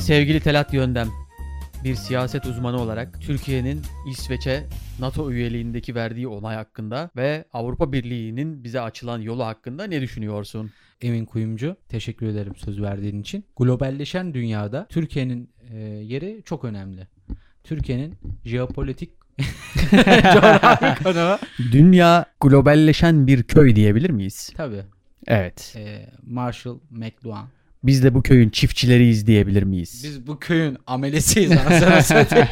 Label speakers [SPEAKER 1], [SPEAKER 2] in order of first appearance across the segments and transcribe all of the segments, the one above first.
[SPEAKER 1] Sevgili Telat Yöndem, bir siyaset uzmanı olarak Türkiye'nin İsveç'e NATO üyeliğindeki verdiği onay hakkında ve Avrupa Birliği'nin bize açılan yolu hakkında ne düşünüyorsun?
[SPEAKER 2] Emin Kuyumcu teşekkür ederim söz verdiğin için. Globalleşen dünyada Türkiye'nin e, yeri çok önemli. Türkiye'nin jeopolitik coğrafi konumu.
[SPEAKER 1] Dünya globalleşen bir köy diyebilir miyiz?
[SPEAKER 2] Tabii.
[SPEAKER 1] Evet.
[SPEAKER 2] e, Marshall McLuhan.
[SPEAKER 1] Biz de bu köyün çiftçileriyiz diyebilir miyiz?
[SPEAKER 2] Biz bu köyün amelesiyiz anasını satayım.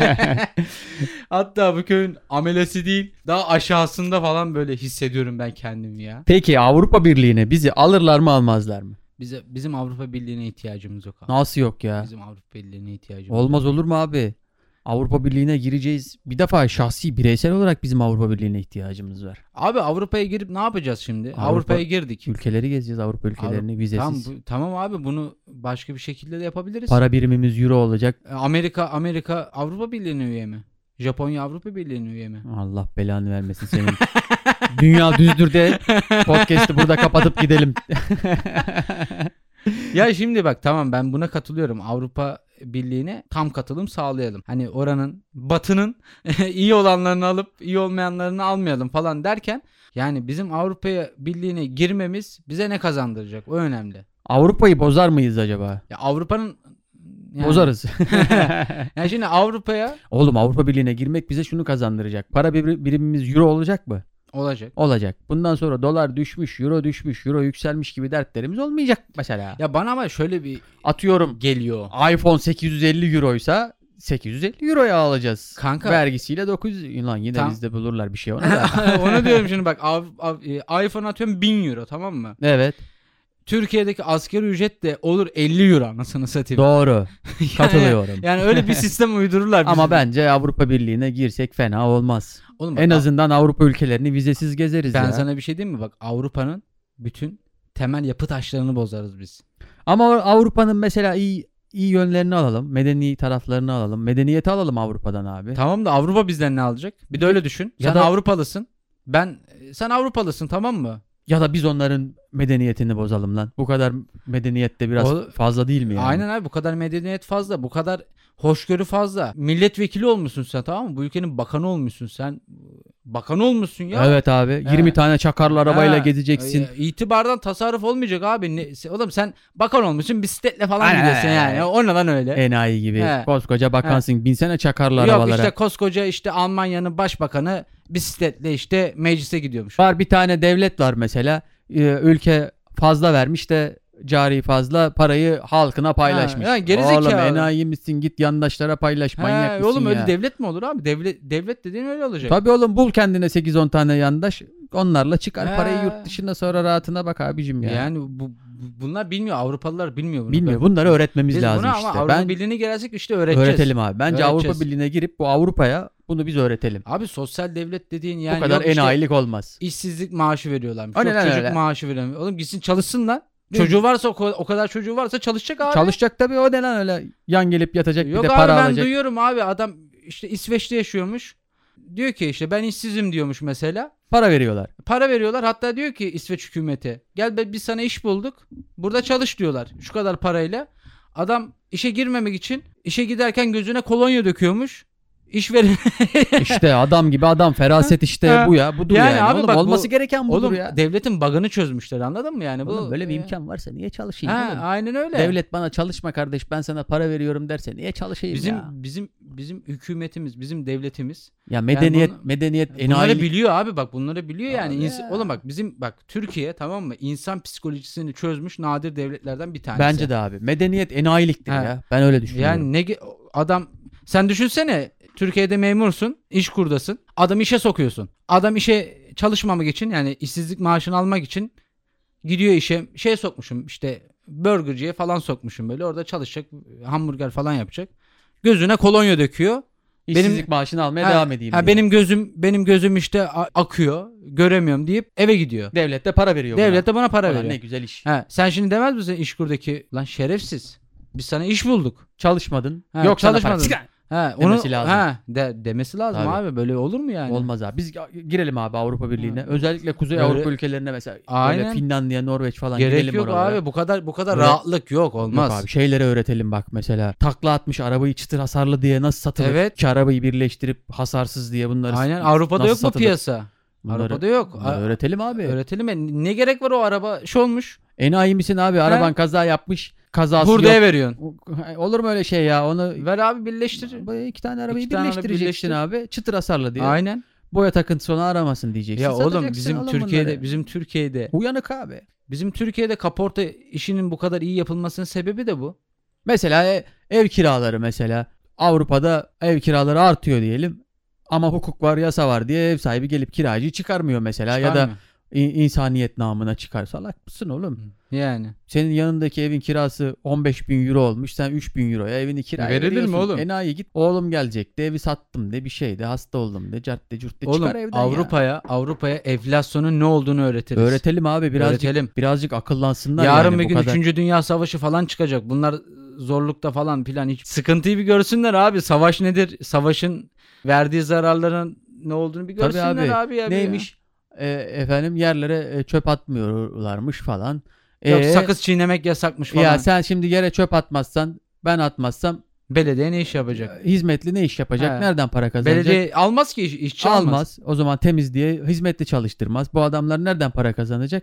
[SPEAKER 2] Hatta bu köyün amelesi değil daha aşağısında falan böyle hissediyorum ben kendimi ya.
[SPEAKER 1] Peki Avrupa Birliği'ne bizi alırlar mı almazlar mı?
[SPEAKER 2] Bize, bizim Avrupa Birliği'ne ihtiyacımız yok abi.
[SPEAKER 1] Nasıl yok ya?
[SPEAKER 2] Bizim Avrupa Birliği'ne ihtiyacımız yok.
[SPEAKER 1] Olmaz olur mu abi? Avrupa Birliği'ne gireceğiz. Bir defa şahsi bireysel olarak bizim Avrupa Birliği'ne ihtiyacımız var.
[SPEAKER 2] Abi Avrupa'ya girip ne yapacağız şimdi?
[SPEAKER 1] Avrupa-
[SPEAKER 2] Avrupa'ya girdik.
[SPEAKER 1] Ülkeleri gezeceğiz Avrupa ülkelerini vizesiz.
[SPEAKER 2] Tamam, bu- tamam abi bunu başka bir şekilde de yapabiliriz.
[SPEAKER 1] Para birimimiz euro olacak.
[SPEAKER 2] E, Amerika Amerika Avrupa Birliği'ne üye mi? Japonya Avrupa Birliği'ne üye mi?
[SPEAKER 1] Allah belanı vermesin senin. Dünya düzdür de podcast'i burada kapatıp gidelim.
[SPEAKER 2] ya şimdi bak tamam ben buna katılıyorum. Avrupa Birliği'ne tam katılım sağlayalım. Hani oranın batının iyi olanlarını alıp iyi olmayanlarını almayalım falan derken yani bizim Avrupa Birliği'ne girmemiz bize ne kazandıracak? O önemli.
[SPEAKER 1] Avrupa'yı bozar mıyız acaba?
[SPEAKER 2] Ya Avrupa'nın yani-
[SPEAKER 1] Bozarız.
[SPEAKER 2] Yani şimdi Avrupa'ya
[SPEAKER 1] Oğlum Avrupa Birliği'ne girmek bize şunu kazandıracak. Para bir- birimimiz euro olacak mı?
[SPEAKER 2] olacak.
[SPEAKER 1] Olacak. Bundan sonra dolar düşmüş, euro düşmüş, euro yükselmiş gibi dertlerimiz olmayacak mesela.
[SPEAKER 2] Ya bana ama şöyle bir
[SPEAKER 1] Atıyorum
[SPEAKER 2] geliyor.
[SPEAKER 1] iPhone 850 euroysa 850 euroya alacağız.
[SPEAKER 2] Kanka-
[SPEAKER 1] Vergisiyle 900. Lan yine
[SPEAKER 2] Tam-
[SPEAKER 1] bizde bulurlar bir şey ona da.
[SPEAKER 2] Onu diyorum şimdi bak av- av- e, iPhone atıyorum 1000 euro tamam mı?
[SPEAKER 1] evet.
[SPEAKER 2] Türkiye'deki asgari ücret de olur 50 euro anasını satayım.
[SPEAKER 1] Doğru.
[SPEAKER 2] Yani-
[SPEAKER 1] Katılıyorum.
[SPEAKER 2] Yani öyle bir sistem uydururlar. bizim.
[SPEAKER 1] Ama bence Avrupa Birliği'ne girsek fena olmaz.
[SPEAKER 2] Oğlum bak,
[SPEAKER 1] En azından Avrupa ülkelerini vizesiz gezeriz
[SPEAKER 2] ben
[SPEAKER 1] ya.
[SPEAKER 2] sana bir şey diyeyim mi? Bak Avrupa'nın bütün temel yapı taşlarını bozarız biz.
[SPEAKER 1] Ama Avrupa'nın mesela iyi iyi yönlerini alalım, medeni taraflarını alalım, medeniyeti alalım Avrupa'dan abi.
[SPEAKER 2] Tamam da Avrupa bizden ne alacak? Bir de öyle düşün.
[SPEAKER 1] Ya
[SPEAKER 2] Sen
[SPEAKER 1] da-
[SPEAKER 2] Avrupalısın. Ben sen Avrupalısın tamam mı?
[SPEAKER 1] Ya da biz onların medeniyetini bozalım lan. Bu kadar medeniyet de biraz
[SPEAKER 2] O-
[SPEAKER 1] fazla değil mi yani?
[SPEAKER 2] Aynen abi bu kadar medeniyet fazla, bu kadar hoşgörü fazla. Milletvekili olmuşsun sen tamam mı? Bu ülkenin bakanı olmuşsun sen. Bakan olmuşsun ya.
[SPEAKER 1] Evet abi. 20 tane çakarlı arabayla
[SPEAKER 2] Ha,
[SPEAKER 1] gezeceksin.
[SPEAKER 2] e, İtibardan tasarruf olmayacak abi. Ne, se- oğlum sen bakan olmuşsun bisikletle falan
[SPEAKER 1] Aynen,
[SPEAKER 2] gidiyorsun
[SPEAKER 1] aynen,
[SPEAKER 2] yani.
[SPEAKER 1] aynen.
[SPEAKER 2] Ondan öyle.
[SPEAKER 1] Enayi gibi.
[SPEAKER 2] He.
[SPEAKER 1] Koskoca bakansın. Binsene çakarlı
[SPEAKER 2] Yok
[SPEAKER 1] arabalara.
[SPEAKER 2] işte koskoca işte Almanya'nın başbakanı bisikletle işte meclise gidiyormuş.
[SPEAKER 1] Var bir tane devlet var mesela. Ee, Ülke fazla vermiş de cari fazla parayı halkına paylaşmış.
[SPEAKER 2] Ha, ha, gerizekalı.
[SPEAKER 1] Oğlum enayi misin git yandaşlara paylaş manyak
[SPEAKER 2] He,
[SPEAKER 1] mısın
[SPEAKER 2] oğlum
[SPEAKER 1] ya?
[SPEAKER 2] öyle devlet mi olur abi? Devlet devlet dediğin öyle olacak.
[SPEAKER 1] Tabii oğlum bul kendine 8-10 tane yandaş. Onlarla çıkar
[SPEAKER 2] He.
[SPEAKER 1] parayı yurt dışında sonra rahatına bak abicim ya.
[SPEAKER 2] Yani bu, bu- bunlar bilmiyor. Avrupalılar bilmiyor bunu.
[SPEAKER 1] Bilmiyor.
[SPEAKER 2] Ben-
[SPEAKER 1] Bunları öğretmemiz
[SPEAKER 2] Biz
[SPEAKER 1] lazım
[SPEAKER 2] bunu
[SPEAKER 1] işte.
[SPEAKER 2] ama Avrupa
[SPEAKER 1] ben
[SPEAKER 2] Birliği'ne gelsek işte öğreteceğiz.
[SPEAKER 1] öğretelim abi. Bence Avrupa
[SPEAKER 2] Öğreteceğiz.
[SPEAKER 1] Birliği'ne girip bu Avrupa'ya bunu biz öğretelim.
[SPEAKER 2] Abi sosyal devlet dediğin yani
[SPEAKER 1] bu kadar
[SPEAKER 2] yok işte
[SPEAKER 1] enayilik olmaz.
[SPEAKER 2] işsizlik maaşı veriyorlarmış.
[SPEAKER 1] Aynen
[SPEAKER 2] yok
[SPEAKER 1] öyle.
[SPEAKER 2] çocuk maaşı veriyorlarmış. Oğlum gitsin çalışsın lan.
[SPEAKER 1] Değil mi?
[SPEAKER 2] Çocuğu varsa o ko- o kadar çocuğu varsa çalışacak abi.
[SPEAKER 1] Çalışacak tabii o ne lan öyle yan gelip yatacak
[SPEAKER 2] Yok
[SPEAKER 1] bir de
[SPEAKER 2] abi
[SPEAKER 1] para
[SPEAKER 2] ben
[SPEAKER 1] alacak.
[SPEAKER 2] duyuyorum abi adam işte İsveç'te yaşıyormuş. Diyor ki işte ben işsizim diyormuş mesela.
[SPEAKER 1] Para veriyorlar.
[SPEAKER 2] Para veriyorlar hatta diyor ki İsveç hükümeti gel be biz sana iş bulduk. Burada çalış diyorlar şu kadar parayla. Adam işe girmemek için işe giderken gözüne kolonya döküyormuş. İşveren
[SPEAKER 1] İşte adam gibi adam feraset işte
[SPEAKER 2] Ha.
[SPEAKER 1] bu ya budur yani.
[SPEAKER 2] Yani abi
[SPEAKER 1] oğlum,
[SPEAKER 2] bak bu-
[SPEAKER 1] olması gereken budur
[SPEAKER 2] oğlum
[SPEAKER 1] ya.
[SPEAKER 2] devletin bagını çözmüşler anladın mı yani?
[SPEAKER 1] Oğlum, böyle bir
[SPEAKER 2] e,
[SPEAKER 1] imkan varsa niye çalışayım
[SPEAKER 2] Ha,
[SPEAKER 1] oğlum?
[SPEAKER 2] aynen öyle.
[SPEAKER 1] Devlet bana çalışma kardeş ben sana para veriyorum derse niye çalışayım
[SPEAKER 2] bizim
[SPEAKER 1] ya?
[SPEAKER 2] bizim bizim hükümetimiz, bizim devletimiz
[SPEAKER 1] Ya medeniyet
[SPEAKER 2] bunu-
[SPEAKER 1] medeniyet
[SPEAKER 2] bunları
[SPEAKER 1] enayilik.
[SPEAKER 2] biliyor abi bak bunları biliyor yani.
[SPEAKER 1] Abi
[SPEAKER 2] İns-
[SPEAKER 1] ya.
[SPEAKER 2] Oğlum bak bizim bak Türkiye tamam mı? İnsan psikolojisini çözmüş nadir devletlerden bir tanesi.
[SPEAKER 1] Bence de abi. Medeniyet enayiliktir
[SPEAKER 2] Ha.
[SPEAKER 1] ya. Ben öyle düşünüyorum.
[SPEAKER 2] Yani ne ge- adam sen düşünsene Türkiye'de memursun, iş kurdasın. Adam işe sokuyorsun. Adam işe çalışmamak için yani işsizlik maaşını almak için gidiyor işe şey sokmuşum işte burgerciye falan sokmuşum böyle orada çalışacak hamburger falan yapacak. Gözüne kolonya döküyor.
[SPEAKER 1] İşsizlik
[SPEAKER 2] benim-
[SPEAKER 1] maaşını almaya
[SPEAKER 2] Ha,
[SPEAKER 1] devam edeyim.
[SPEAKER 2] Ha,
[SPEAKER 1] diyor.
[SPEAKER 2] benim gözüm benim gözüm işte a- akıyor, göremiyorum deyip eve gidiyor.
[SPEAKER 1] devlet de para veriyor. buna.
[SPEAKER 2] Devlet de bana para
[SPEAKER 1] Ulan
[SPEAKER 2] veriyor.
[SPEAKER 1] ne güzel iş.
[SPEAKER 2] Ha, sen şimdi demez misin işkurdaki lan şerefsiz. Biz sana iş bulduk.
[SPEAKER 1] Çalışmadın.
[SPEAKER 2] Ha,
[SPEAKER 1] Yok
[SPEAKER 2] çalışmadın.
[SPEAKER 1] çalışmadın.
[SPEAKER 2] He,
[SPEAKER 1] Demesi
[SPEAKER 2] onu,
[SPEAKER 1] lazım.
[SPEAKER 2] He, de, demesi lazım
[SPEAKER 1] Tabii.
[SPEAKER 2] abi. Böyle olur mu yani?
[SPEAKER 1] Olmaz abi. Biz girelim abi Avrupa Birliği'ne. Özellikle Kuzey
[SPEAKER 2] Böyle-
[SPEAKER 1] Avrupa ülkelerine mesela böyle
[SPEAKER 2] Aynen.
[SPEAKER 1] Finlandiya, Norveç falan
[SPEAKER 2] Gerek
[SPEAKER 1] girelim
[SPEAKER 2] yok
[SPEAKER 1] oralara.
[SPEAKER 2] abi. Bu kadar bu kadar
[SPEAKER 1] Böyle-
[SPEAKER 2] rahatlık yok. Olmaz.
[SPEAKER 1] Yok abi şeylere öğretelim bak mesela. Takla atmış arabayı çıtır hasarlı diye nasıl satılır?
[SPEAKER 2] Evet.
[SPEAKER 1] İki arabayı birleştirip hasarsız diye bunları
[SPEAKER 2] Aynen. Avrupa'da
[SPEAKER 1] nasıl
[SPEAKER 2] yok bu
[SPEAKER 1] satılır?
[SPEAKER 2] piyasa.
[SPEAKER 1] bunları,
[SPEAKER 2] Avrupa'da yok.
[SPEAKER 1] bunları öğretelim abi.
[SPEAKER 2] Öğretelim mi? Ne gerek var o araba? Şey olmuş.
[SPEAKER 1] Enayi misin abi? Araban kaza yapmış. Kazası
[SPEAKER 2] Hurdaya
[SPEAKER 1] yok.
[SPEAKER 2] veriyorsun.
[SPEAKER 1] Olur mu öyle şey ya? Onu
[SPEAKER 2] Ver abi birleştir.
[SPEAKER 1] Bu iki tane arabayı
[SPEAKER 2] İki tane arabayı
[SPEAKER 1] birleştireceksin abi. Çıtır hasarlı diye.
[SPEAKER 2] Aynen.
[SPEAKER 1] Boya takıntısı onu aramasın diyeceksin.
[SPEAKER 2] Ya oğlum
[SPEAKER 1] Satacaksın
[SPEAKER 2] bizim
[SPEAKER 1] oğlum
[SPEAKER 2] Türkiye'de
[SPEAKER 1] bunları.
[SPEAKER 2] bizim Türkiye'de
[SPEAKER 1] uyanık abi.
[SPEAKER 2] bizim Türkiye'de kaporta işinin bu kadar iyi yapılmasının sebebi de bu.
[SPEAKER 1] Mesela e, ev kiraları mesela Avrupa'da ev kiraları artıyor diyelim. Ama hukuk var, yasa var diye ev sahibi gelip kiracıyı çıkarmıyor mesela ya da
[SPEAKER 2] Çıkarmıyor.
[SPEAKER 1] in- insaniyet namına çıkar. Salak mısın oğlum?
[SPEAKER 2] yani
[SPEAKER 1] Senin yanındaki evin kirası 15 bin euro olmuş. Sen 3 bin euroya evini kiraya
[SPEAKER 2] Verilir mi
[SPEAKER 1] veriyorsun.
[SPEAKER 2] oğlum?
[SPEAKER 1] Enayi git. Oğlum gelecek de evi sattım de bir şey de hasta oldum de cart de cürt de çıkar
[SPEAKER 2] oğlum
[SPEAKER 1] evden ya.
[SPEAKER 2] Avrupa'ya Avrupa'ya enflasyonun ne olduğunu öğretiriz.
[SPEAKER 1] Öğretelim abi birazcık
[SPEAKER 2] Öğretelim.
[SPEAKER 1] birazcık akıllansınlar
[SPEAKER 2] Yarın
[SPEAKER 1] yani
[SPEAKER 2] bir
[SPEAKER 1] bu
[SPEAKER 2] gün
[SPEAKER 1] kadar.
[SPEAKER 2] 3. Dünya Savaşı falan çıkacak. Bunlar e, zorlukta falan filan hiç sıkıntıyı bir görsünler abi. Savaş nedir? Savaşın verdiği zararların ne olduğunu bir
[SPEAKER 1] Tabii
[SPEAKER 2] görsünler
[SPEAKER 1] abi.
[SPEAKER 2] abi. ya bir ya.
[SPEAKER 1] Neymiş? E, efendim yerlere e, çöp atmıyorlarmış falan.
[SPEAKER 2] Yok
[SPEAKER 1] E,
[SPEAKER 2] sakız çiğnemek yasakmış falan.
[SPEAKER 1] Ya sen şimdi yere çöp atmazsan ben atmazsam e,
[SPEAKER 2] Belediye ne iş yapacak?
[SPEAKER 1] hizmetli ne iş yapacak?
[SPEAKER 2] He.
[SPEAKER 1] Nereden para kazanacak?
[SPEAKER 2] Belediye almaz ki iş- işçi
[SPEAKER 1] almaz.
[SPEAKER 2] almaz.
[SPEAKER 1] O zaman temiz diye hizmetli çalıştırmaz. Bu adamlar nereden para kazanacak?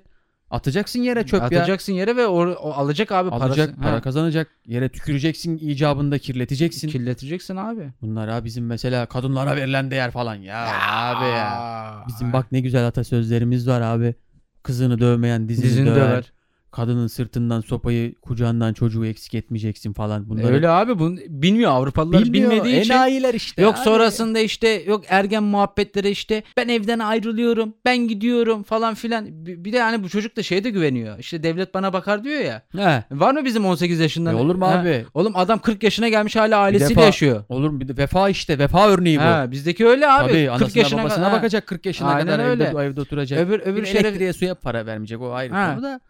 [SPEAKER 1] Atacaksın yere çöp ya.
[SPEAKER 2] Atacaksın yere ve or- o alacak abi
[SPEAKER 1] Alacak,
[SPEAKER 2] parasını.
[SPEAKER 1] para
[SPEAKER 2] Ha,
[SPEAKER 1] kazanacak. Yere tüküreceksin icabında kirleteceksin.
[SPEAKER 2] kirleteceksin abi.
[SPEAKER 1] Bunlar ha bizim mesela kadınlara verilen değer falan ya. abi ya.
[SPEAKER 2] Aa,
[SPEAKER 1] Bizim bak ne güzel atasözlerimiz var abi. Kızını dövmeyen dizini,
[SPEAKER 2] dizini
[SPEAKER 1] döver.
[SPEAKER 2] döver.
[SPEAKER 1] Kadının sırtından sopayı kucağından çocuğu eksik etmeyeceksin falan. Bunları
[SPEAKER 2] Öyle abi bunu bilmiyor Avrupalılar bilmediği için.
[SPEAKER 1] enayiler işte.
[SPEAKER 2] Yok
[SPEAKER 1] abi.
[SPEAKER 2] sonrasında işte yok ergen muhabbetleri işte ben evden ayrılıyorum ben gidiyorum falan filan. Bi- Bir de hani bu çocuk da şeye de güveniyor. İşte devlet bana bakar diyor ya.
[SPEAKER 1] He.
[SPEAKER 2] Var mı bizim 18 yaşından?
[SPEAKER 1] E olur mu
[SPEAKER 2] Ha,
[SPEAKER 1] abi?
[SPEAKER 2] Oğlum adam 40 yaşına gelmiş hala ailesiyle
[SPEAKER 1] defa-
[SPEAKER 2] yaşıyor.
[SPEAKER 1] Olur mu? Bir de vefa işte. Vefa örneği bu.
[SPEAKER 2] Ha, bizdeki öyle abi.
[SPEAKER 1] Tabii
[SPEAKER 2] 40
[SPEAKER 1] anasına
[SPEAKER 2] yaşına
[SPEAKER 1] babasına
[SPEAKER 2] ha.
[SPEAKER 1] bakacak 40 yaşına
[SPEAKER 2] Aynen
[SPEAKER 1] kadar
[SPEAKER 2] öyle.
[SPEAKER 1] evde, evde oturacak. bir
[SPEAKER 2] Öbür öbür
[SPEAKER 1] şeyler...
[SPEAKER 2] şeylere
[SPEAKER 1] elektriğe suya para vermeyecek o ayrı
[SPEAKER 2] Ha.
[SPEAKER 1] konu da.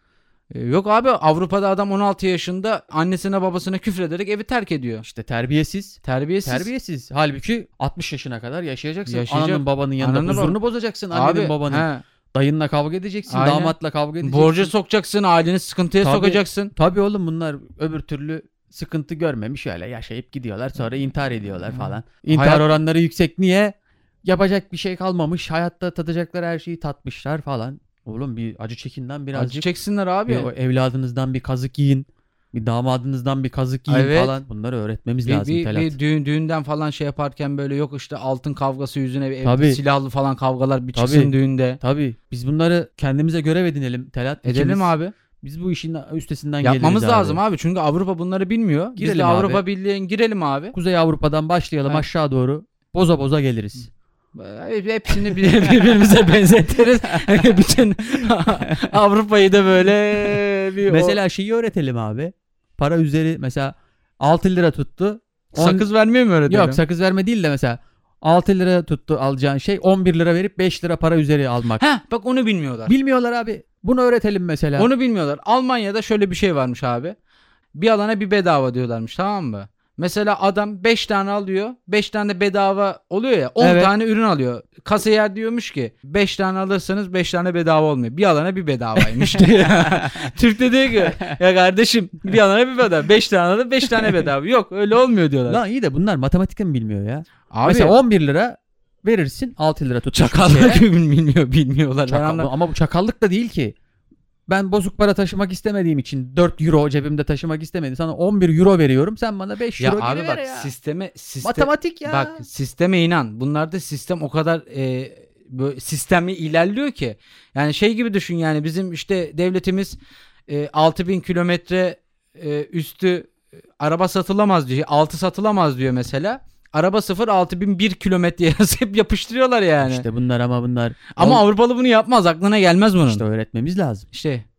[SPEAKER 2] E, Yok abi Avrupa'da adam 16 yaşında annesine babasına küfrederek evi terk ediyor.
[SPEAKER 1] İşte terbiyesiz.
[SPEAKER 2] Terbiyesiz.
[SPEAKER 1] Terbiyesiz. Halbuki 60 yaşına kadar yaşayacaksın.
[SPEAKER 2] Yaşayacak.
[SPEAKER 1] Ananın babanın yanında
[SPEAKER 2] Ananı
[SPEAKER 1] huzurunu bozacaksın.
[SPEAKER 2] Abi,
[SPEAKER 1] Annenin babanın.
[SPEAKER 2] he.
[SPEAKER 1] Dayınla kavga edeceksin.
[SPEAKER 2] Aynen.
[SPEAKER 1] Damatla kavga edeceksin.
[SPEAKER 2] borca sokacaksın, aileni sıkıntıya
[SPEAKER 1] Tabii.
[SPEAKER 2] sokacaksın.
[SPEAKER 1] Tabii oğlum bunlar öbür türlü sıkıntı görmemiş öyle yaşayıp gidiyorlar sonra intihar ediyorlar falan. İntihar
[SPEAKER 2] Hayat-
[SPEAKER 1] oranları yüksek niye? Yapacak bir şey kalmamış. Hayatta tadacakları her şeyi tatmışlar falan. Oğlum bir acı çekin lan birazcık.
[SPEAKER 2] Acı çeksinler abi.
[SPEAKER 1] Bir o evladınızdan bir kazık yiyin. Bir damadınızdan bir kazık yiyin
[SPEAKER 2] Evet.
[SPEAKER 1] falan. Bunları öğretmemiz
[SPEAKER 2] bir,
[SPEAKER 1] lazım
[SPEAKER 2] bir-
[SPEAKER 1] Telat.
[SPEAKER 2] bir düğün, düğünden falan şey yaparken böyle yok işte altın kavgası yüzüne bir evde
[SPEAKER 1] Tabii.
[SPEAKER 2] silahlı falan kavgalar bir çıksın
[SPEAKER 1] Tabii.
[SPEAKER 2] düğünde.
[SPEAKER 1] Tabii biz bunları kendimize görev edinelim Telat.
[SPEAKER 2] Edelim
[SPEAKER 1] İkimiz-
[SPEAKER 2] abi.
[SPEAKER 1] Biz bu işin üstesinden
[SPEAKER 2] Yapmamız
[SPEAKER 1] geliriz abi.
[SPEAKER 2] lazım abi. Çünkü Avrupa bunları bilmiyor. Biz de
[SPEAKER 1] Girelim abi.
[SPEAKER 2] Avrupa Birliği'ne girelim abi.
[SPEAKER 1] Kuzey Avrupa'dan başlayalım
[SPEAKER 2] Evet.
[SPEAKER 1] aşağı doğru. Boza boza geliriz.
[SPEAKER 2] Hep- Ee, Hepsini bir- birbirimize benzetiriz. Bütün Avrupa'yı da böyle bir o-
[SPEAKER 1] Mesela şeyi öğretelim abi. Para üzeri mesela 6 lira tuttu. On-
[SPEAKER 2] sakız vermiyor mu öğretelim?
[SPEAKER 1] Yok sakız verme değil de mesela 6 lira tuttu alacağın şey 11 lira verip 5 lira para üzeri almak.
[SPEAKER 2] Ha bak onu bilmiyorlar.
[SPEAKER 1] Bilmiyorlar abi. Bunu öğretelim mesela.
[SPEAKER 2] Onu bilmiyorlar. Almanya'da şöyle bir şey varmış abi. Bir alana bir bedava diyorlarmış tamam mı? Mesela adam 5 tane alıyor. 5 tane bedava oluyor ya. 10
[SPEAKER 1] Evet.
[SPEAKER 2] tane ürün alıyor. Kasiyer diyormuş ki 5 tane alırsanız 5 tane bedava olmuyor. Bir alana bir bedavaymış diyor. Türk de diyor ki ya kardeşim bir alana bir bedava. 5 tane alır 5 tane bedava. Yok öyle olmuyor diyorlar.
[SPEAKER 1] Lan iyi de bunlar matematikten mi bilmiyor ya?
[SPEAKER 2] abi
[SPEAKER 1] Mesela 11 lira verirsin 6 lira tutmuş. bir
[SPEAKER 2] çakallık
[SPEAKER 1] şeye.
[SPEAKER 2] bilmiyor bilmiyorlar. Ben
[SPEAKER 1] Çakal-
[SPEAKER 2] anlam-
[SPEAKER 1] ama bu çakallık da değil ki. Ben bozuk para taşımak istemediğim için 4 euro cebimde taşımak istemedim. Sana 11 euro veriyorum. Sen bana 5
[SPEAKER 2] Ya
[SPEAKER 1] euro
[SPEAKER 2] abi
[SPEAKER 1] geri
[SPEAKER 2] bak
[SPEAKER 1] ver ya.
[SPEAKER 2] sisteme sistem
[SPEAKER 1] Matematik ya.
[SPEAKER 2] Bak sisteme inan. Bunlarda sistem o kadar e, böyle sistemli ilerliyor ki. Yani şey gibi düşün yani bizim işte devletimiz e, 6000 kilometre e, üstü e, araba satılamaz diyor. 6 satılamaz diyor mesela. Araba 0 6001 kilometre hep yapıştırıyorlar yani.
[SPEAKER 1] İşte bunlar ama bunlar
[SPEAKER 2] Ama
[SPEAKER 1] Ol-
[SPEAKER 2] Avrupalı bunu yapmaz. Aklına gelmez bunun.
[SPEAKER 1] işte
[SPEAKER 2] İşte,
[SPEAKER 1] öğretmemiz lazım.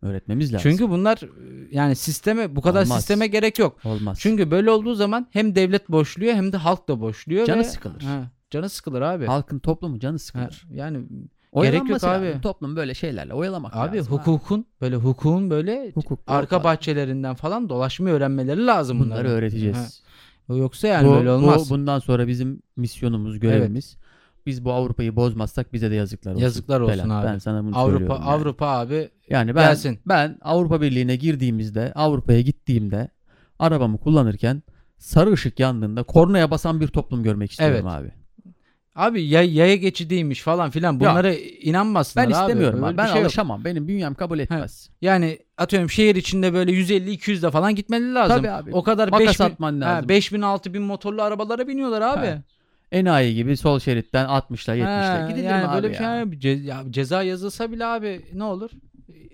[SPEAKER 1] Öğretmemiz lazım.
[SPEAKER 2] çünkü bunlar e, yani sisteme bu kadar
[SPEAKER 1] Olmaz.
[SPEAKER 2] sisteme gerek yok.
[SPEAKER 1] olmaz.
[SPEAKER 2] Çünkü böyle olduğu zaman hem devlet boşluyor hem de halk da boşluyor.
[SPEAKER 1] Canı
[SPEAKER 2] ve-
[SPEAKER 1] sıkılır.
[SPEAKER 2] Ha, canı sıkılır abi.
[SPEAKER 1] halkın toplumu canı
[SPEAKER 2] Ha,
[SPEAKER 1] sıkılır.
[SPEAKER 2] yani
[SPEAKER 1] Oyalanması
[SPEAKER 2] Gerek yok
[SPEAKER 1] lazım.
[SPEAKER 2] abi.
[SPEAKER 1] Toplum böyle şeylerle oyalamak
[SPEAKER 2] abi
[SPEAKER 1] lazım. ha.
[SPEAKER 2] hukukun böyle hukukun böyle
[SPEAKER 1] Hukuk,
[SPEAKER 2] arka
[SPEAKER 1] hukuk.
[SPEAKER 2] bahçelerinden falan dolaşmayı öğrenmeleri lazım
[SPEAKER 1] bunları
[SPEAKER 2] bunların.
[SPEAKER 1] öğreteceğiz.
[SPEAKER 2] Ha. Yoksa yani
[SPEAKER 1] bu,
[SPEAKER 2] böyle
[SPEAKER 1] bu-
[SPEAKER 2] olmaz.
[SPEAKER 1] bundan sonra bizim misyonumuz, görevimiz. Biz bu Avrupa'yı bozmazsak bize de yazıklar olsun.
[SPEAKER 2] Yazıklar olsun
[SPEAKER 1] Belan.
[SPEAKER 2] abi.
[SPEAKER 1] Ben sana bunu
[SPEAKER 2] Avrupa
[SPEAKER 1] söylüyorum. yani.
[SPEAKER 2] Avrupa abi
[SPEAKER 1] Yani ben
[SPEAKER 2] Gelsin.
[SPEAKER 1] ben Avrupa Birliği'ne girdiğimizde, Avrupa'ya gittiğimde arabamı kullanırken sarı ışık yandığında kornaya basan bir toplum görmek istiyorum
[SPEAKER 2] Evet.
[SPEAKER 1] abi.
[SPEAKER 2] abi yay, yaya geçidiymiş falan filan bunlara inanmasınlar
[SPEAKER 1] Ben
[SPEAKER 2] abi.
[SPEAKER 1] istemiyorum
[SPEAKER 2] Böyle
[SPEAKER 1] abi.
[SPEAKER 2] bir
[SPEAKER 1] Ben
[SPEAKER 2] şey yok.
[SPEAKER 1] alışamam. Benim bünyem kabul etmez.
[SPEAKER 2] Yani atıyorum şehir içinde böyle 150 200 de falan gitmeleri lazım.
[SPEAKER 1] Tabii abi.
[SPEAKER 2] O kadar
[SPEAKER 1] Makas
[SPEAKER 2] 5000
[SPEAKER 1] atman lazım.
[SPEAKER 2] Ha, 5000 6000 motorlu arabalara biniyorlar abi.
[SPEAKER 1] Ha, Enayi gibi sol şeritten 60'la 70'le
[SPEAKER 2] Ha,
[SPEAKER 1] gidilir
[SPEAKER 2] yani
[SPEAKER 1] mi abi
[SPEAKER 2] böyle bir şey
[SPEAKER 1] ya?
[SPEAKER 2] abi. Ce- ya ceza yazılsa bile abi ne olur?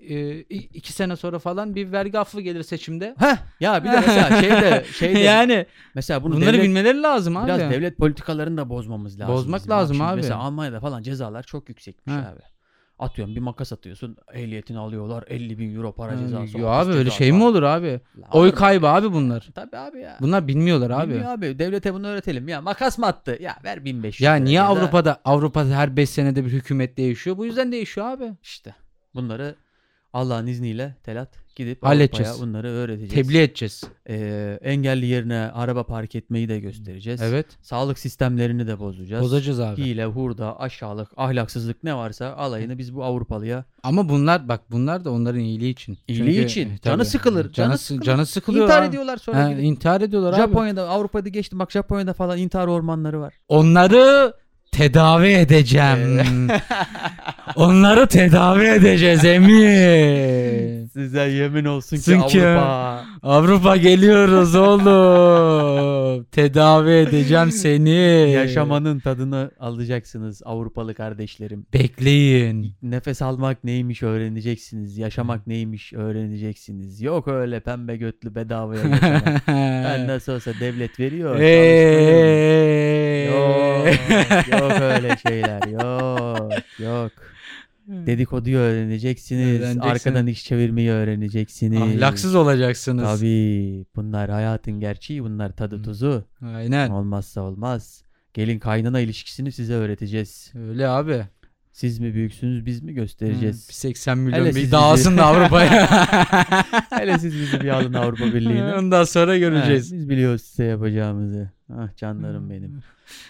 [SPEAKER 2] Ee, i- iki sene sonra falan bir vergi affı gelir seçimde. Şey
[SPEAKER 1] Heh, ya bir de mesela şeyde, şeyde
[SPEAKER 2] yani
[SPEAKER 1] mesela bunu
[SPEAKER 2] bunları
[SPEAKER 1] devlet,
[SPEAKER 2] bilmeleri lazım abi.
[SPEAKER 1] biraz devlet politikalarını da bozmamız lazım.
[SPEAKER 2] Bozmak
[SPEAKER 1] bizim. Bak
[SPEAKER 2] lazım
[SPEAKER 1] şimdi
[SPEAKER 2] abi.
[SPEAKER 1] Mesela Almanya'da falan cezalar çok yüksekmiş
[SPEAKER 2] Ha.
[SPEAKER 1] abi. Atıyorum bir makas atıyorsun ehliyetini alıyorlar 50 bin euro para
[SPEAKER 2] Ha,
[SPEAKER 1] cezası.
[SPEAKER 2] Hmm, yo
[SPEAKER 1] hapis
[SPEAKER 2] abi öyle
[SPEAKER 1] cezası
[SPEAKER 2] şey mi olur abi?
[SPEAKER 1] Lan
[SPEAKER 2] Oy
[SPEAKER 1] oğlum,
[SPEAKER 2] kaybı abi bunlar.
[SPEAKER 1] Tabii abi ya.
[SPEAKER 2] Bunlar bilmiyorlar
[SPEAKER 1] şey abi.
[SPEAKER 2] abi.
[SPEAKER 1] abi. Devlete bunu öğretelim. Ya makas mı attı? Ya ver 1500.
[SPEAKER 2] Ya
[SPEAKER 1] lira
[SPEAKER 2] niye
[SPEAKER 1] ceza.
[SPEAKER 2] Avrupa'da Avrupa'da her 5 senede bir hükümet değişiyor? Bu yüzden değişiyor abi.
[SPEAKER 1] İşte bunları Allah'ın izniyle Telat gidip
[SPEAKER 2] Halledeceğiz.
[SPEAKER 1] Avrupa'ya bunları öğreteceğiz.
[SPEAKER 2] Tebliğ edeceğiz.
[SPEAKER 1] Ee, engelli yerine araba park etmeyi de göstereceğiz.
[SPEAKER 2] Evet.
[SPEAKER 1] Sağlık sistemlerini de bozacağız.
[SPEAKER 2] Bozacağız abi.
[SPEAKER 1] Hile, hurda, aşağılık, ahlaksızlık ne varsa alayını biz bu Avrupalıya
[SPEAKER 2] Ama bunlar bak bunlar da onların iyiliği için.
[SPEAKER 1] İyiliği
[SPEAKER 2] Çünkü-
[SPEAKER 1] için.
[SPEAKER 2] e,
[SPEAKER 1] Canı
[SPEAKER 2] tabii.
[SPEAKER 1] sıkılır, canı
[SPEAKER 2] Canı,
[SPEAKER 1] sıkılır.
[SPEAKER 2] sıkılıyor. canı sıkılıyor.
[SPEAKER 1] intihar
[SPEAKER 2] abi.
[SPEAKER 1] ediyorlar sonra.
[SPEAKER 2] Ha,
[SPEAKER 1] gidip.
[SPEAKER 2] intihar ediyorlar abi.
[SPEAKER 1] Japonya'da, Avrupa'da geçtim. Bak Japonya'da falan intihar ormanları var.
[SPEAKER 2] Onları tedavi edeceğim. Onları tedavi edeceğiz emin.
[SPEAKER 1] Size yemin olsun ki
[SPEAKER 2] Çünkü-
[SPEAKER 1] Avrupa.
[SPEAKER 2] Avrupa geliyoruz oğlum. tedavi edeceğim
[SPEAKER 1] Ee,
[SPEAKER 2] seni.
[SPEAKER 1] Yaşamanın tadını alacaksınız Avrupalı kardeşlerim.
[SPEAKER 2] Bekleyin.
[SPEAKER 1] Nefes almak neymiş öğreneceksiniz. Yaşamak neymiş öğreneceksiniz. Yok öyle pembe götlü bedavaya yaşamak. ben nasıl olsa devlet veriyor. çalıştırıyorum.
[SPEAKER 2] Ee.
[SPEAKER 1] Yok, yok öyle şeyler. Yok, yok. Dedikoduyu öğreneceksiniz.
[SPEAKER 2] Öğreneceksin.
[SPEAKER 1] Arkadan iş çevirmeyi öğreneceksiniz.
[SPEAKER 2] Ahlaksız olacaksınız.
[SPEAKER 1] Tabii. Bunlar hayatın gerçeği. Bunlar tadı
[SPEAKER 2] Hı.
[SPEAKER 1] tuzu.
[SPEAKER 2] Aynen.
[SPEAKER 1] Olmazsa olmaz. Gelin kaynana ilişkisini size öğreteceğiz.
[SPEAKER 2] Öyle abi.
[SPEAKER 1] Siz mi büyüksünüz biz mi
[SPEAKER 2] Hı, bir
[SPEAKER 1] göstereceğiz.
[SPEAKER 2] 80 milyon
[SPEAKER 1] Hele
[SPEAKER 2] bir
[SPEAKER 1] siz
[SPEAKER 2] dağılsın
[SPEAKER 1] bizi-
[SPEAKER 2] da Avrupa'ya.
[SPEAKER 1] Hele siz bizi bir alın Avrupa Birliği'ne.
[SPEAKER 2] Ondan sonra göreceğiz.
[SPEAKER 1] Ha, biz biliyoruz size yapacağımızı. Ah canlarım benim.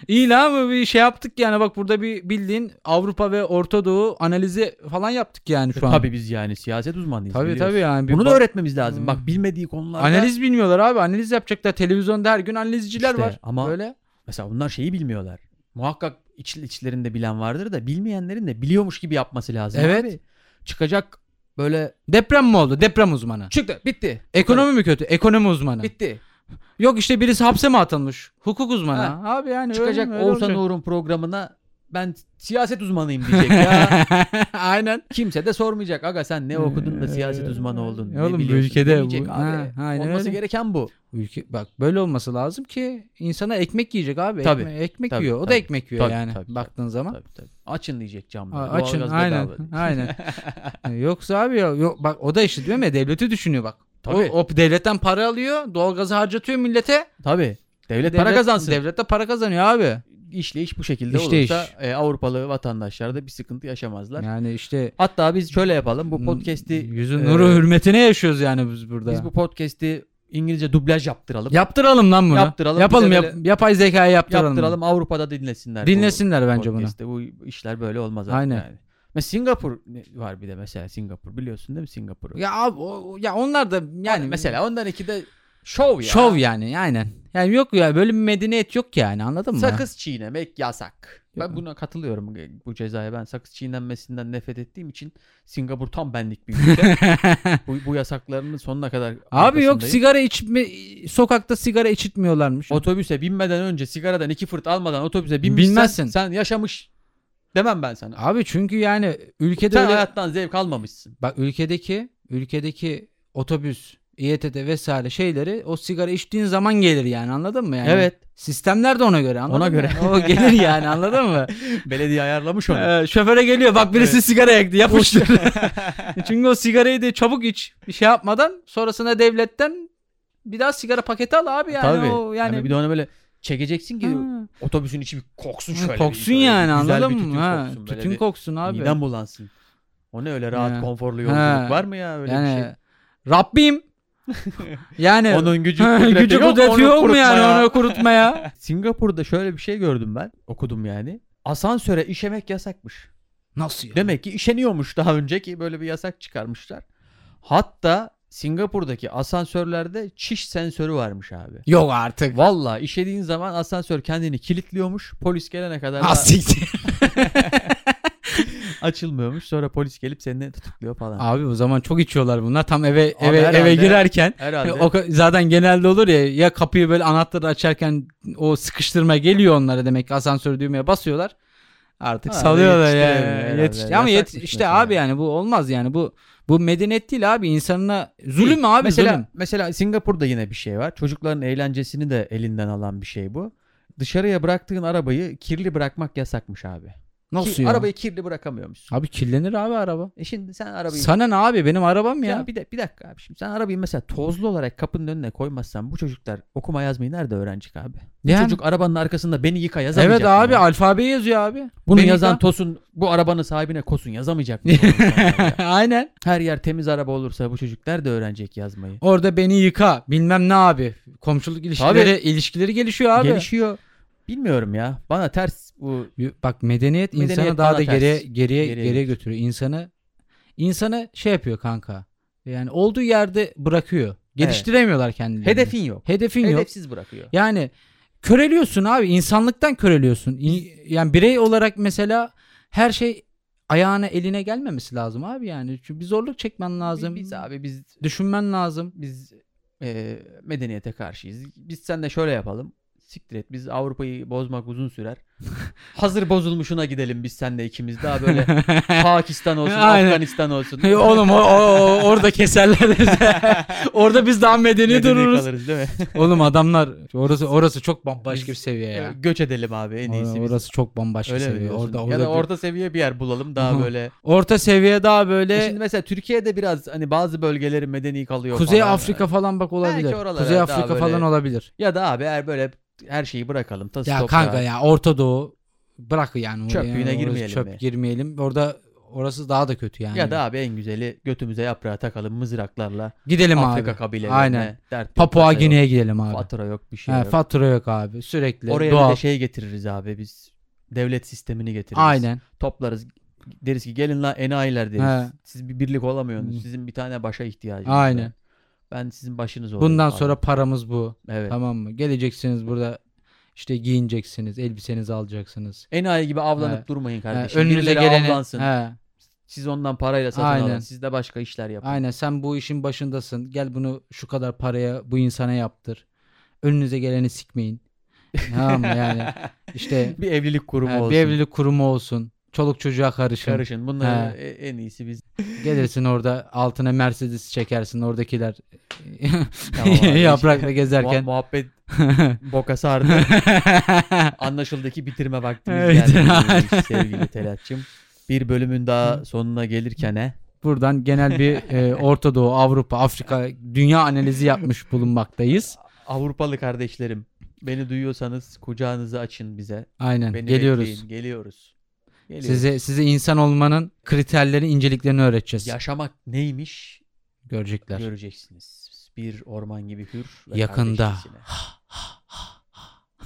[SPEAKER 2] İyi lan bu bir şey yaptık yani bak burada bir bildiğin Avrupa ve Orta Doğu analizi falan yaptık yani şu an.
[SPEAKER 1] E, Tabii biz yani siyaset uzmanıyız.
[SPEAKER 2] tabii,
[SPEAKER 1] biliyoruz.
[SPEAKER 2] tabii yani. Bir
[SPEAKER 1] Bunu da
[SPEAKER 2] bak-
[SPEAKER 1] öğretmemiz lazım.
[SPEAKER 2] Hmm.
[SPEAKER 1] Bak bilmediği konularda
[SPEAKER 2] Analiz bilmiyorlar abi analiz yapacaklar televizyonda her gün analizciler
[SPEAKER 1] İşte
[SPEAKER 2] var.
[SPEAKER 1] ama-
[SPEAKER 2] Böyle.
[SPEAKER 1] mesela bunlar şeyi bilmiyorlar. Muhakkak iç, içlerinde bilen vardır da bilmeyenlerin de biliyormuş gibi yapması lazım.
[SPEAKER 2] Evet.
[SPEAKER 1] Abi. Çıkacak böyle
[SPEAKER 2] Deprem mi oldu? Deprem uzmanı.
[SPEAKER 1] çıktı bitti.
[SPEAKER 2] Ekonomi mi kötü? Ekonomi uzmanı.
[SPEAKER 1] bitti.
[SPEAKER 2] Yok işte birisi hapse mi atılmış? Hukuk uzmanı. Abi yani
[SPEAKER 1] Çıkacak
[SPEAKER 2] öyle, öyle
[SPEAKER 1] Oğuzhan
[SPEAKER 2] olacak.
[SPEAKER 1] Uğur'un programına ben siyaset uzmanıyım diyecek ya.
[SPEAKER 2] Aynen.
[SPEAKER 1] Kimse de sormayacak. Aga sen ne okudun da siyaset uzmanı oldun. ne
[SPEAKER 2] Ee, E, Oğlum bu
[SPEAKER 1] biliyorsun?"
[SPEAKER 2] ülkede bu-
[SPEAKER 1] demeyecek abi.
[SPEAKER 2] Ha, aynen
[SPEAKER 1] Olması
[SPEAKER 2] öyle.
[SPEAKER 1] gereken bu.
[SPEAKER 2] Ülke bak böyle olması lazım ki insana ekmek yiyecek abi.
[SPEAKER 1] Tabii.
[SPEAKER 2] Ekme- ekmek
[SPEAKER 1] Tabii,
[SPEAKER 2] yiyor. O da
[SPEAKER 1] tabii.
[SPEAKER 2] ekmek yiyor
[SPEAKER 1] Tabii,
[SPEAKER 2] yani
[SPEAKER 1] tabii,
[SPEAKER 2] baktığın zaman.
[SPEAKER 1] Tabii, tabii. Açın diyecek camları.
[SPEAKER 2] A- Açın
[SPEAKER 1] Doğalgaz
[SPEAKER 2] aynen.
[SPEAKER 1] bedava diyecek.
[SPEAKER 2] Aynen. E, Yoksa abi ya yok bak o da işte diyorum ya devleti düşünüyor bak. O,
[SPEAKER 1] Tabii.
[SPEAKER 2] o devletten para alıyor, doğalgazı harcatıyor millete.
[SPEAKER 1] Tabii. Devlet, para
[SPEAKER 2] Devlet-
[SPEAKER 1] kazansın.
[SPEAKER 2] Devlet de para kazanıyor abi.
[SPEAKER 1] İşleyiş bu şekilde
[SPEAKER 2] İşleyiş.
[SPEAKER 1] olursa e, Avrupalı vatandaşlar da bir sıkıntı yaşamazlar.
[SPEAKER 2] Yani işte
[SPEAKER 1] Hatta biz şöyle yapalım. Bu
[SPEAKER 2] n-
[SPEAKER 1] podcast'i
[SPEAKER 2] yüzün
[SPEAKER 1] e,
[SPEAKER 2] nuru hürmetine yaşıyoruz yani biz burada.
[SPEAKER 1] Biz bu podcast'i İngilizce dublaj yaptıralım.
[SPEAKER 2] yaptıralım lan bunu.
[SPEAKER 1] Yaptıralım,
[SPEAKER 2] Yapalım
[SPEAKER 1] bir de
[SPEAKER 2] yap- yapay zekayı yaptıralım.
[SPEAKER 1] yaptıralım. Avrupa'da dinlesinler. bu
[SPEAKER 2] Dinlesinler bence bunu.
[SPEAKER 1] podcast'i. Bu işler böyle olmaz artık
[SPEAKER 2] Aynen.
[SPEAKER 1] yani. Mesela Singapur ne- var bir de mesela Singapur biliyorsun değil mi Singapur'u?
[SPEAKER 2] Ya abi o- ya onlar da yani
[SPEAKER 1] Yani mesela ondan iki de şov ya.
[SPEAKER 2] şov yani aynen. Yani yok ya böyle bir medeniyet yok yani anladın mı?
[SPEAKER 1] Sakız çiğnemek yasak. Ben
[SPEAKER 2] Yok.
[SPEAKER 1] buna katılıyorum bu cezaya. Ben sakız çiğnenmesinden nefret ettiğim için Singapur tam benlik bir ülke. bu, bu yasaklarının sonuna kadar
[SPEAKER 2] Abi yok
[SPEAKER 1] arkasındayım.
[SPEAKER 2] sigara içme sokakta sigara içitmiyorlarmış.
[SPEAKER 1] Otobüse binmeden önce sigaradan iki fırt almadan otobüse binmişsen
[SPEAKER 2] Binmezsin.
[SPEAKER 1] sen yaşamış demem ben sana.
[SPEAKER 2] Abi çünkü yani ülkede
[SPEAKER 1] Sen
[SPEAKER 2] öyle
[SPEAKER 1] hayattan zevk almamışsın.
[SPEAKER 2] bak ülkedeki ülkedeki otobüs, İETT vesaire şeyleri o sigara içtiğin zaman gelir yani anladın mı yani?
[SPEAKER 1] Evet.
[SPEAKER 2] Sistemler de ona göre anladın
[SPEAKER 1] Ona
[SPEAKER 2] mı?
[SPEAKER 1] göre.
[SPEAKER 2] o gelir yani anladın mı?
[SPEAKER 1] Belediye ayarlamış onu.
[SPEAKER 2] Ee, şoföre geliyor bak birisi
[SPEAKER 1] Evet.
[SPEAKER 2] sigara yaktı yapıştır. Çünkü o sigarayı da çabuk iç bir şey yapmadan sonrasında devletten bir daha sigara paketi al abi yani
[SPEAKER 1] Tabii.
[SPEAKER 2] o yani,
[SPEAKER 1] yani... bir de ona böyle çekeceksin ki
[SPEAKER 2] Ha.
[SPEAKER 1] otobüsün içi bir koksun şöyle. bir-
[SPEAKER 2] koksun
[SPEAKER 1] böyle bir
[SPEAKER 2] yani
[SPEAKER 1] güzel bir
[SPEAKER 2] anladın
[SPEAKER 1] tütün
[SPEAKER 2] mı? Ha,
[SPEAKER 1] koksun, böyle
[SPEAKER 2] tütün
[SPEAKER 1] bir
[SPEAKER 2] koksun abi.
[SPEAKER 1] Midem bulansın. O ne öyle rahat
[SPEAKER 2] Ha.
[SPEAKER 1] konforlu
[SPEAKER 2] Ha.
[SPEAKER 1] yolculuk var mı ya öyle
[SPEAKER 2] yani
[SPEAKER 1] bir şey?
[SPEAKER 2] Rabbim yani
[SPEAKER 1] Onun gücü kudreti
[SPEAKER 2] gücü
[SPEAKER 1] yok,
[SPEAKER 2] kudreti yok mu yani
[SPEAKER 1] unutmaya.
[SPEAKER 2] onu kurutmaya?
[SPEAKER 1] Singapur'da şöyle bir şey gördüm ben. Okudum yani. Asansöre işemek yasakmış.
[SPEAKER 2] Nasıl ya?
[SPEAKER 1] Demek ki işeniyormuş daha önceki böyle bir yasak çıkarmışlar. Hatta Singapur'daki asansörlerde çiş sensörü varmış abi.
[SPEAKER 2] Yok artık.
[SPEAKER 1] Valla işediğin zaman asansör kendini kilitliyormuş. Polis gelene kadar da
[SPEAKER 2] Ha, siktir.
[SPEAKER 1] açılmıyormuş. Sonra polis gelip seni tutukluyor falan.
[SPEAKER 2] Abi o zaman çok içiyorlar bunlar. Tam eve
[SPEAKER 1] Abi
[SPEAKER 2] eve eve
[SPEAKER 1] herhalde-
[SPEAKER 2] girerken
[SPEAKER 1] Herhalde.
[SPEAKER 2] O ka- zaten genelde olur ya ya kapıyı böyle anahtarı açarken o sıkıştırma geliyor onlara demek ki asansör düğmeye basıyorlar. Artık
[SPEAKER 1] Ha,
[SPEAKER 2] salıyorlar
[SPEAKER 1] yetiştiremiyor
[SPEAKER 2] yani.
[SPEAKER 1] herhalde.
[SPEAKER 2] Yetiş- ama yet-
[SPEAKER 1] Yasakmış
[SPEAKER 2] işte
[SPEAKER 1] mesela.
[SPEAKER 2] abi yani bu olmaz yani bu bu medeniyet değil abi insanına zulüm abi
[SPEAKER 1] mesela,
[SPEAKER 2] zulüm.
[SPEAKER 1] Mesela Singapur'da yine bir şey var. Çocukların eğlencesini de elinden alan bir şey bu. Dışarıya bıraktığın arabayı kirli bırakmak yasakmış abi.
[SPEAKER 2] Nasıl
[SPEAKER 1] Ki-
[SPEAKER 2] ya?
[SPEAKER 1] Arabayı kirli bırakamıyormuşsun.
[SPEAKER 2] Abi kirlenir abi araba.
[SPEAKER 1] E şimdi sen arabayı...
[SPEAKER 2] Sana ne abi benim arabam ya.
[SPEAKER 1] Ya bir, de, bir dakika abi şimdi sen arabayı mesela tozlu olarak kapının önüne koymazsan bu çocuklar okuma yazmayı nerede öğrenecek abi? Bu
[SPEAKER 2] Yani-
[SPEAKER 1] Çocuk arabanın arkasında beni yıka yazamayacak
[SPEAKER 2] evet
[SPEAKER 1] mı
[SPEAKER 2] abi
[SPEAKER 1] ya?
[SPEAKER 2] alfabe yazıyor abi.
[SPEAKER 1] Bunu
[SPEAKER 2] Beni
[SPEAKER 1] yazan
[SPEAKER 2] yıka-
[SPEAKER 1] Tosun bu arabanın sahibine kosun yazamayacak mı? bu insan ya?
[SPEAKER 2] Aynen.
[SPEAKER 1] Her yer temiz araba olursa bu çocuk nerede öğrenecek yazmayı?
[SPEAKER 2] Orada beni yıka bilmem ne abi. Komşuluk ilişkileri ilişkileri gelişiyor abi.
[SPEAKER 1] Gelişiyor. Bilmiyorum ya. Bana ters bu
[SPEAKER 2] Y- Bak medeniyet,
[SPEAKER 1] Medeniyet
[SPEAKER 2] insanı daha da
[SPEAKER 1] bana ters.
[SPEAKER 2] geriye geriye
[SPEAKER 1] Geriye
[SPEAKER 2] geriye
[SPEAKER 1] götürüyor.
[SPEAKER 2] götürüyor. İnsanı insanı şey yapıyor kanka. Yani olduğu yerde bırakıyor. Geliştiremiyorlar kendilerini.
[SPEAKER 1] hedefin yok.
[SPEAKER 2] hedefin yok.
[SPEAKER 1] Hedefsiz bırakıyor.
[SPEAKER 2] Yani köreliyorsun abi. insanlıktan köreliyorsun. İn- Yani birey olarak mesela her şey ayağına eline gelmemesi lazım abi yani. Çünkü bir zorluk çekmen lazım.
[SPEAKER 1] Biz, biz abi biz
[SPEAKER 2] Düşünmen lazım.
[SPEAKER 1] biz e, medeniyete karşıyız. Biz sen de şöyle yapalım. Siktir et. Biz Avrupa'yı bozmak uzun sürer. Hazır bozulmuşuna gidelim biz sen de ikimiz daha böyle Pakistan olsun,
[SPEAKER 2] Aynen.
[SPEAKER 1] Afganistan olsun.
[SPEAKER 2] Oğlum o, o- orada keserler. orada biz daha medeni
[SPEAKER 1] Medeni
[SPEAKER 2] dururuz.
[SPEAKER 1] kalırız değil mi?
[SPEAKER 2] Oğlum adamlar orası orası çok bambaşka bir seviye ya.
[SPEAKER 1] Göç edelim abi en iyisi.
[SPEAKER 2] Or-
[SPEAKER 1] biz.
[SPEAKER 2] Orası çok bambaşka
[SPEAKER 1] Öyle mi
[SPEAKER 2] seviye.
[SPEAKER 1] diyorsun?
[SPEAKER 2] Orada,
[SPEAKER 1] ya
[SPEAKER 2] orada
[SPEAKER 1] da
[SPEAKER 2] bir-
[SPEAKER 1] orta seviye bir yer bulalım daha
[SPEAKER 2] Aha.
[SPEAKER 1] böyle.
[SPEAKER 2] orta seviye daha böyle
[SPEAKER 1] E şimdi mesela Türkiye'de biraz hani bazı bölgeleri medeni kalıyor
[SPEAKER 2] Kuzey
[SPEAKER 1] falan.
[SPEAKER 2] Afrika falan bak olabilir.
[SPEAKER 1] Belki oralara
[SPEAKER 2] Kuzey
[SPEAKER 1] daha
[SPEAKER 2] Afrika
[SPEAKER 1] böyle-
[SPEAKER 2] falan olabilir.
[SPEAKER 1] Ya da abi eğer böyle her şeyi bırakalım. Tası
[SPEAKER 2] Ya
[SPEAKER 1] toprağı.
[SPEAKER 2] kanka ya Orta Doğu bırak yani oraya.
[SPEAKER 1] Çöplüğüne
[SPEAKER 2] Yani orası
[SPEAKER 1] girmeyelim
[SPEAKER 2] Çöp
[SPEAKER 1] mi?
[SPEAKER 2] girmeyelim. Orada orası daha da kötü yani.
[SPEAKER 1] Ya da abi en güzeli götümüze yaprağı takalım mızraklarla.
[SPEAKER 2] gidelim
[SPEAKER 1] Afrika
[SPEAKER 2] abi.
[SPEAKER 1] kabilelerine.
[SPEAKER 2] Aynen.
[SPEAKER 1] Dert yok,
[SPEAKER 2] Papua
[SPEAKER 1] tasa yok,
[SPEAKER 2] Gine'ye gidelim abi.
[SPEAKER 1] Fatura yok bir şey
[SPEAKER 2] He,
[SPEAKER 1] yok.
[SPEAKER 2] fatura yok abi. Sürekli
[SPEAKER 1] Oraya bir
[SPEAKER 2] doğal.
[SPEAKER 1] de şey getiririz abi biz. Devlet sistemini getiririz.
[SPEAKER 2] Aynen.
[SPEAKER 1] Toplarız. Deriz ki gelin la enayiler deriz.
[SPEAKER 2] He.
[SPEAKER 1] Siz bir birlik olamıyorsunuz.
[SPEAKER 2] Hı.
[SPEAKER 1] Sizin bir tane başa ihtiyacınız var.
[SPEAKER 2] Aynen.
[SPEAKER 1] Ben sizin başınız olayım.
[SPEAKER 2] Bundan
[SPEAKER 1] falan.
[SPEAKER 2] sonra paramız bu.
[SPEAKER 1] evet.
[SPEAKER 2] Tamam mı? Geleceksiniz burada işte giyineceksiniz, elbisenizi alacaksınız.
[SPEAKER 1] Enayi gibi avlanıp
[SPEAKER 2] He.
[SPEAKER 1] durmayın
[SPEAKER 2] He,
[SPEAKER 1] kardeşim.
[SPEAKER 2] önünüze
[SPEAKER 1] Birileri
[SPEAKER 2] gelene
[SPEAKER 1] avlansın.
[SPEAKER 2] he,
[SPEAKER 1] Siz ondan parayla satın
[SPEAKER 2] Aynen.
[SPEAKER 1] alın. Siz de başka işler yapın.
[SPEAKER 2] Aynen sen bu işin başındasın. Gel bunu şu kadar paraya bu insana yaptır. Önünüze geleni sikmeyin. tamam mı yani? İşte
[SPEAKER 1] bir evlilik kurumu
[SPEAKER 2] ha,
[SPEAKER 1] olsun.
[SPEAKER 2] bir evlilik kurumu olsun. Çoluk çocuğa karışın.
[SPEAKER 1] Karışın. Bunların e- en iyisi biz.
[SPEAKER 2] Gelirsin orada altına Mercedes çekersin oradakiler e,
[SPEAKER 1] Tamam abi.
[SPEAKER 2] yaprakla
[SPEAKER 1] Muha-
[SPEAKER 2] gezerken.
[SPEAKER 1] muhabbet boka sardı. Anlaşıldı ki bitirme vaktimiz
[SPEAKER 2] Evet,
[SPEAKER 1] geldi
[SPEAKER 2] aynen.
[SPEAKER 1] sevgili Telatçım. Bir bölümün daha sonuna gelirken he.
[SPEAKER 2] Buradan genel bir e, Orta Doğu, Avrupa, Afrika, dünya analizi yapmış bulunmaktayız.
[SPEAKER 1] Avrupalı kardeşlerim beni duyuyorsanız kucağınızı açın bize.
[SPEAKER 2] Aynen.
[SPEAKER 1] Beni
[SPEAKER 2] Geliyoruz.
[SPEAKER 1] bekleyin, Geliyoruz. Geliyoruz.
[SPEAKER 2] Size size insan olmanın kriterlerini, inceliklerini öğreteceğiz.
[SPEAKER 1] Yaşamak neymiş
[SPEAKER 2] Görecekler.
[SPEAKER 1] göreceksiniz. Bir orman gibi hür ve
[SPEAKER 2] Yakında.
[SPEAKER 1] kardeşçesine.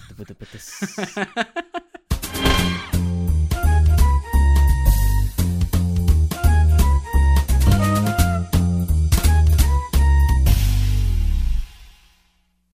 [SPEAKER 1] Dıbı dıbı dıs.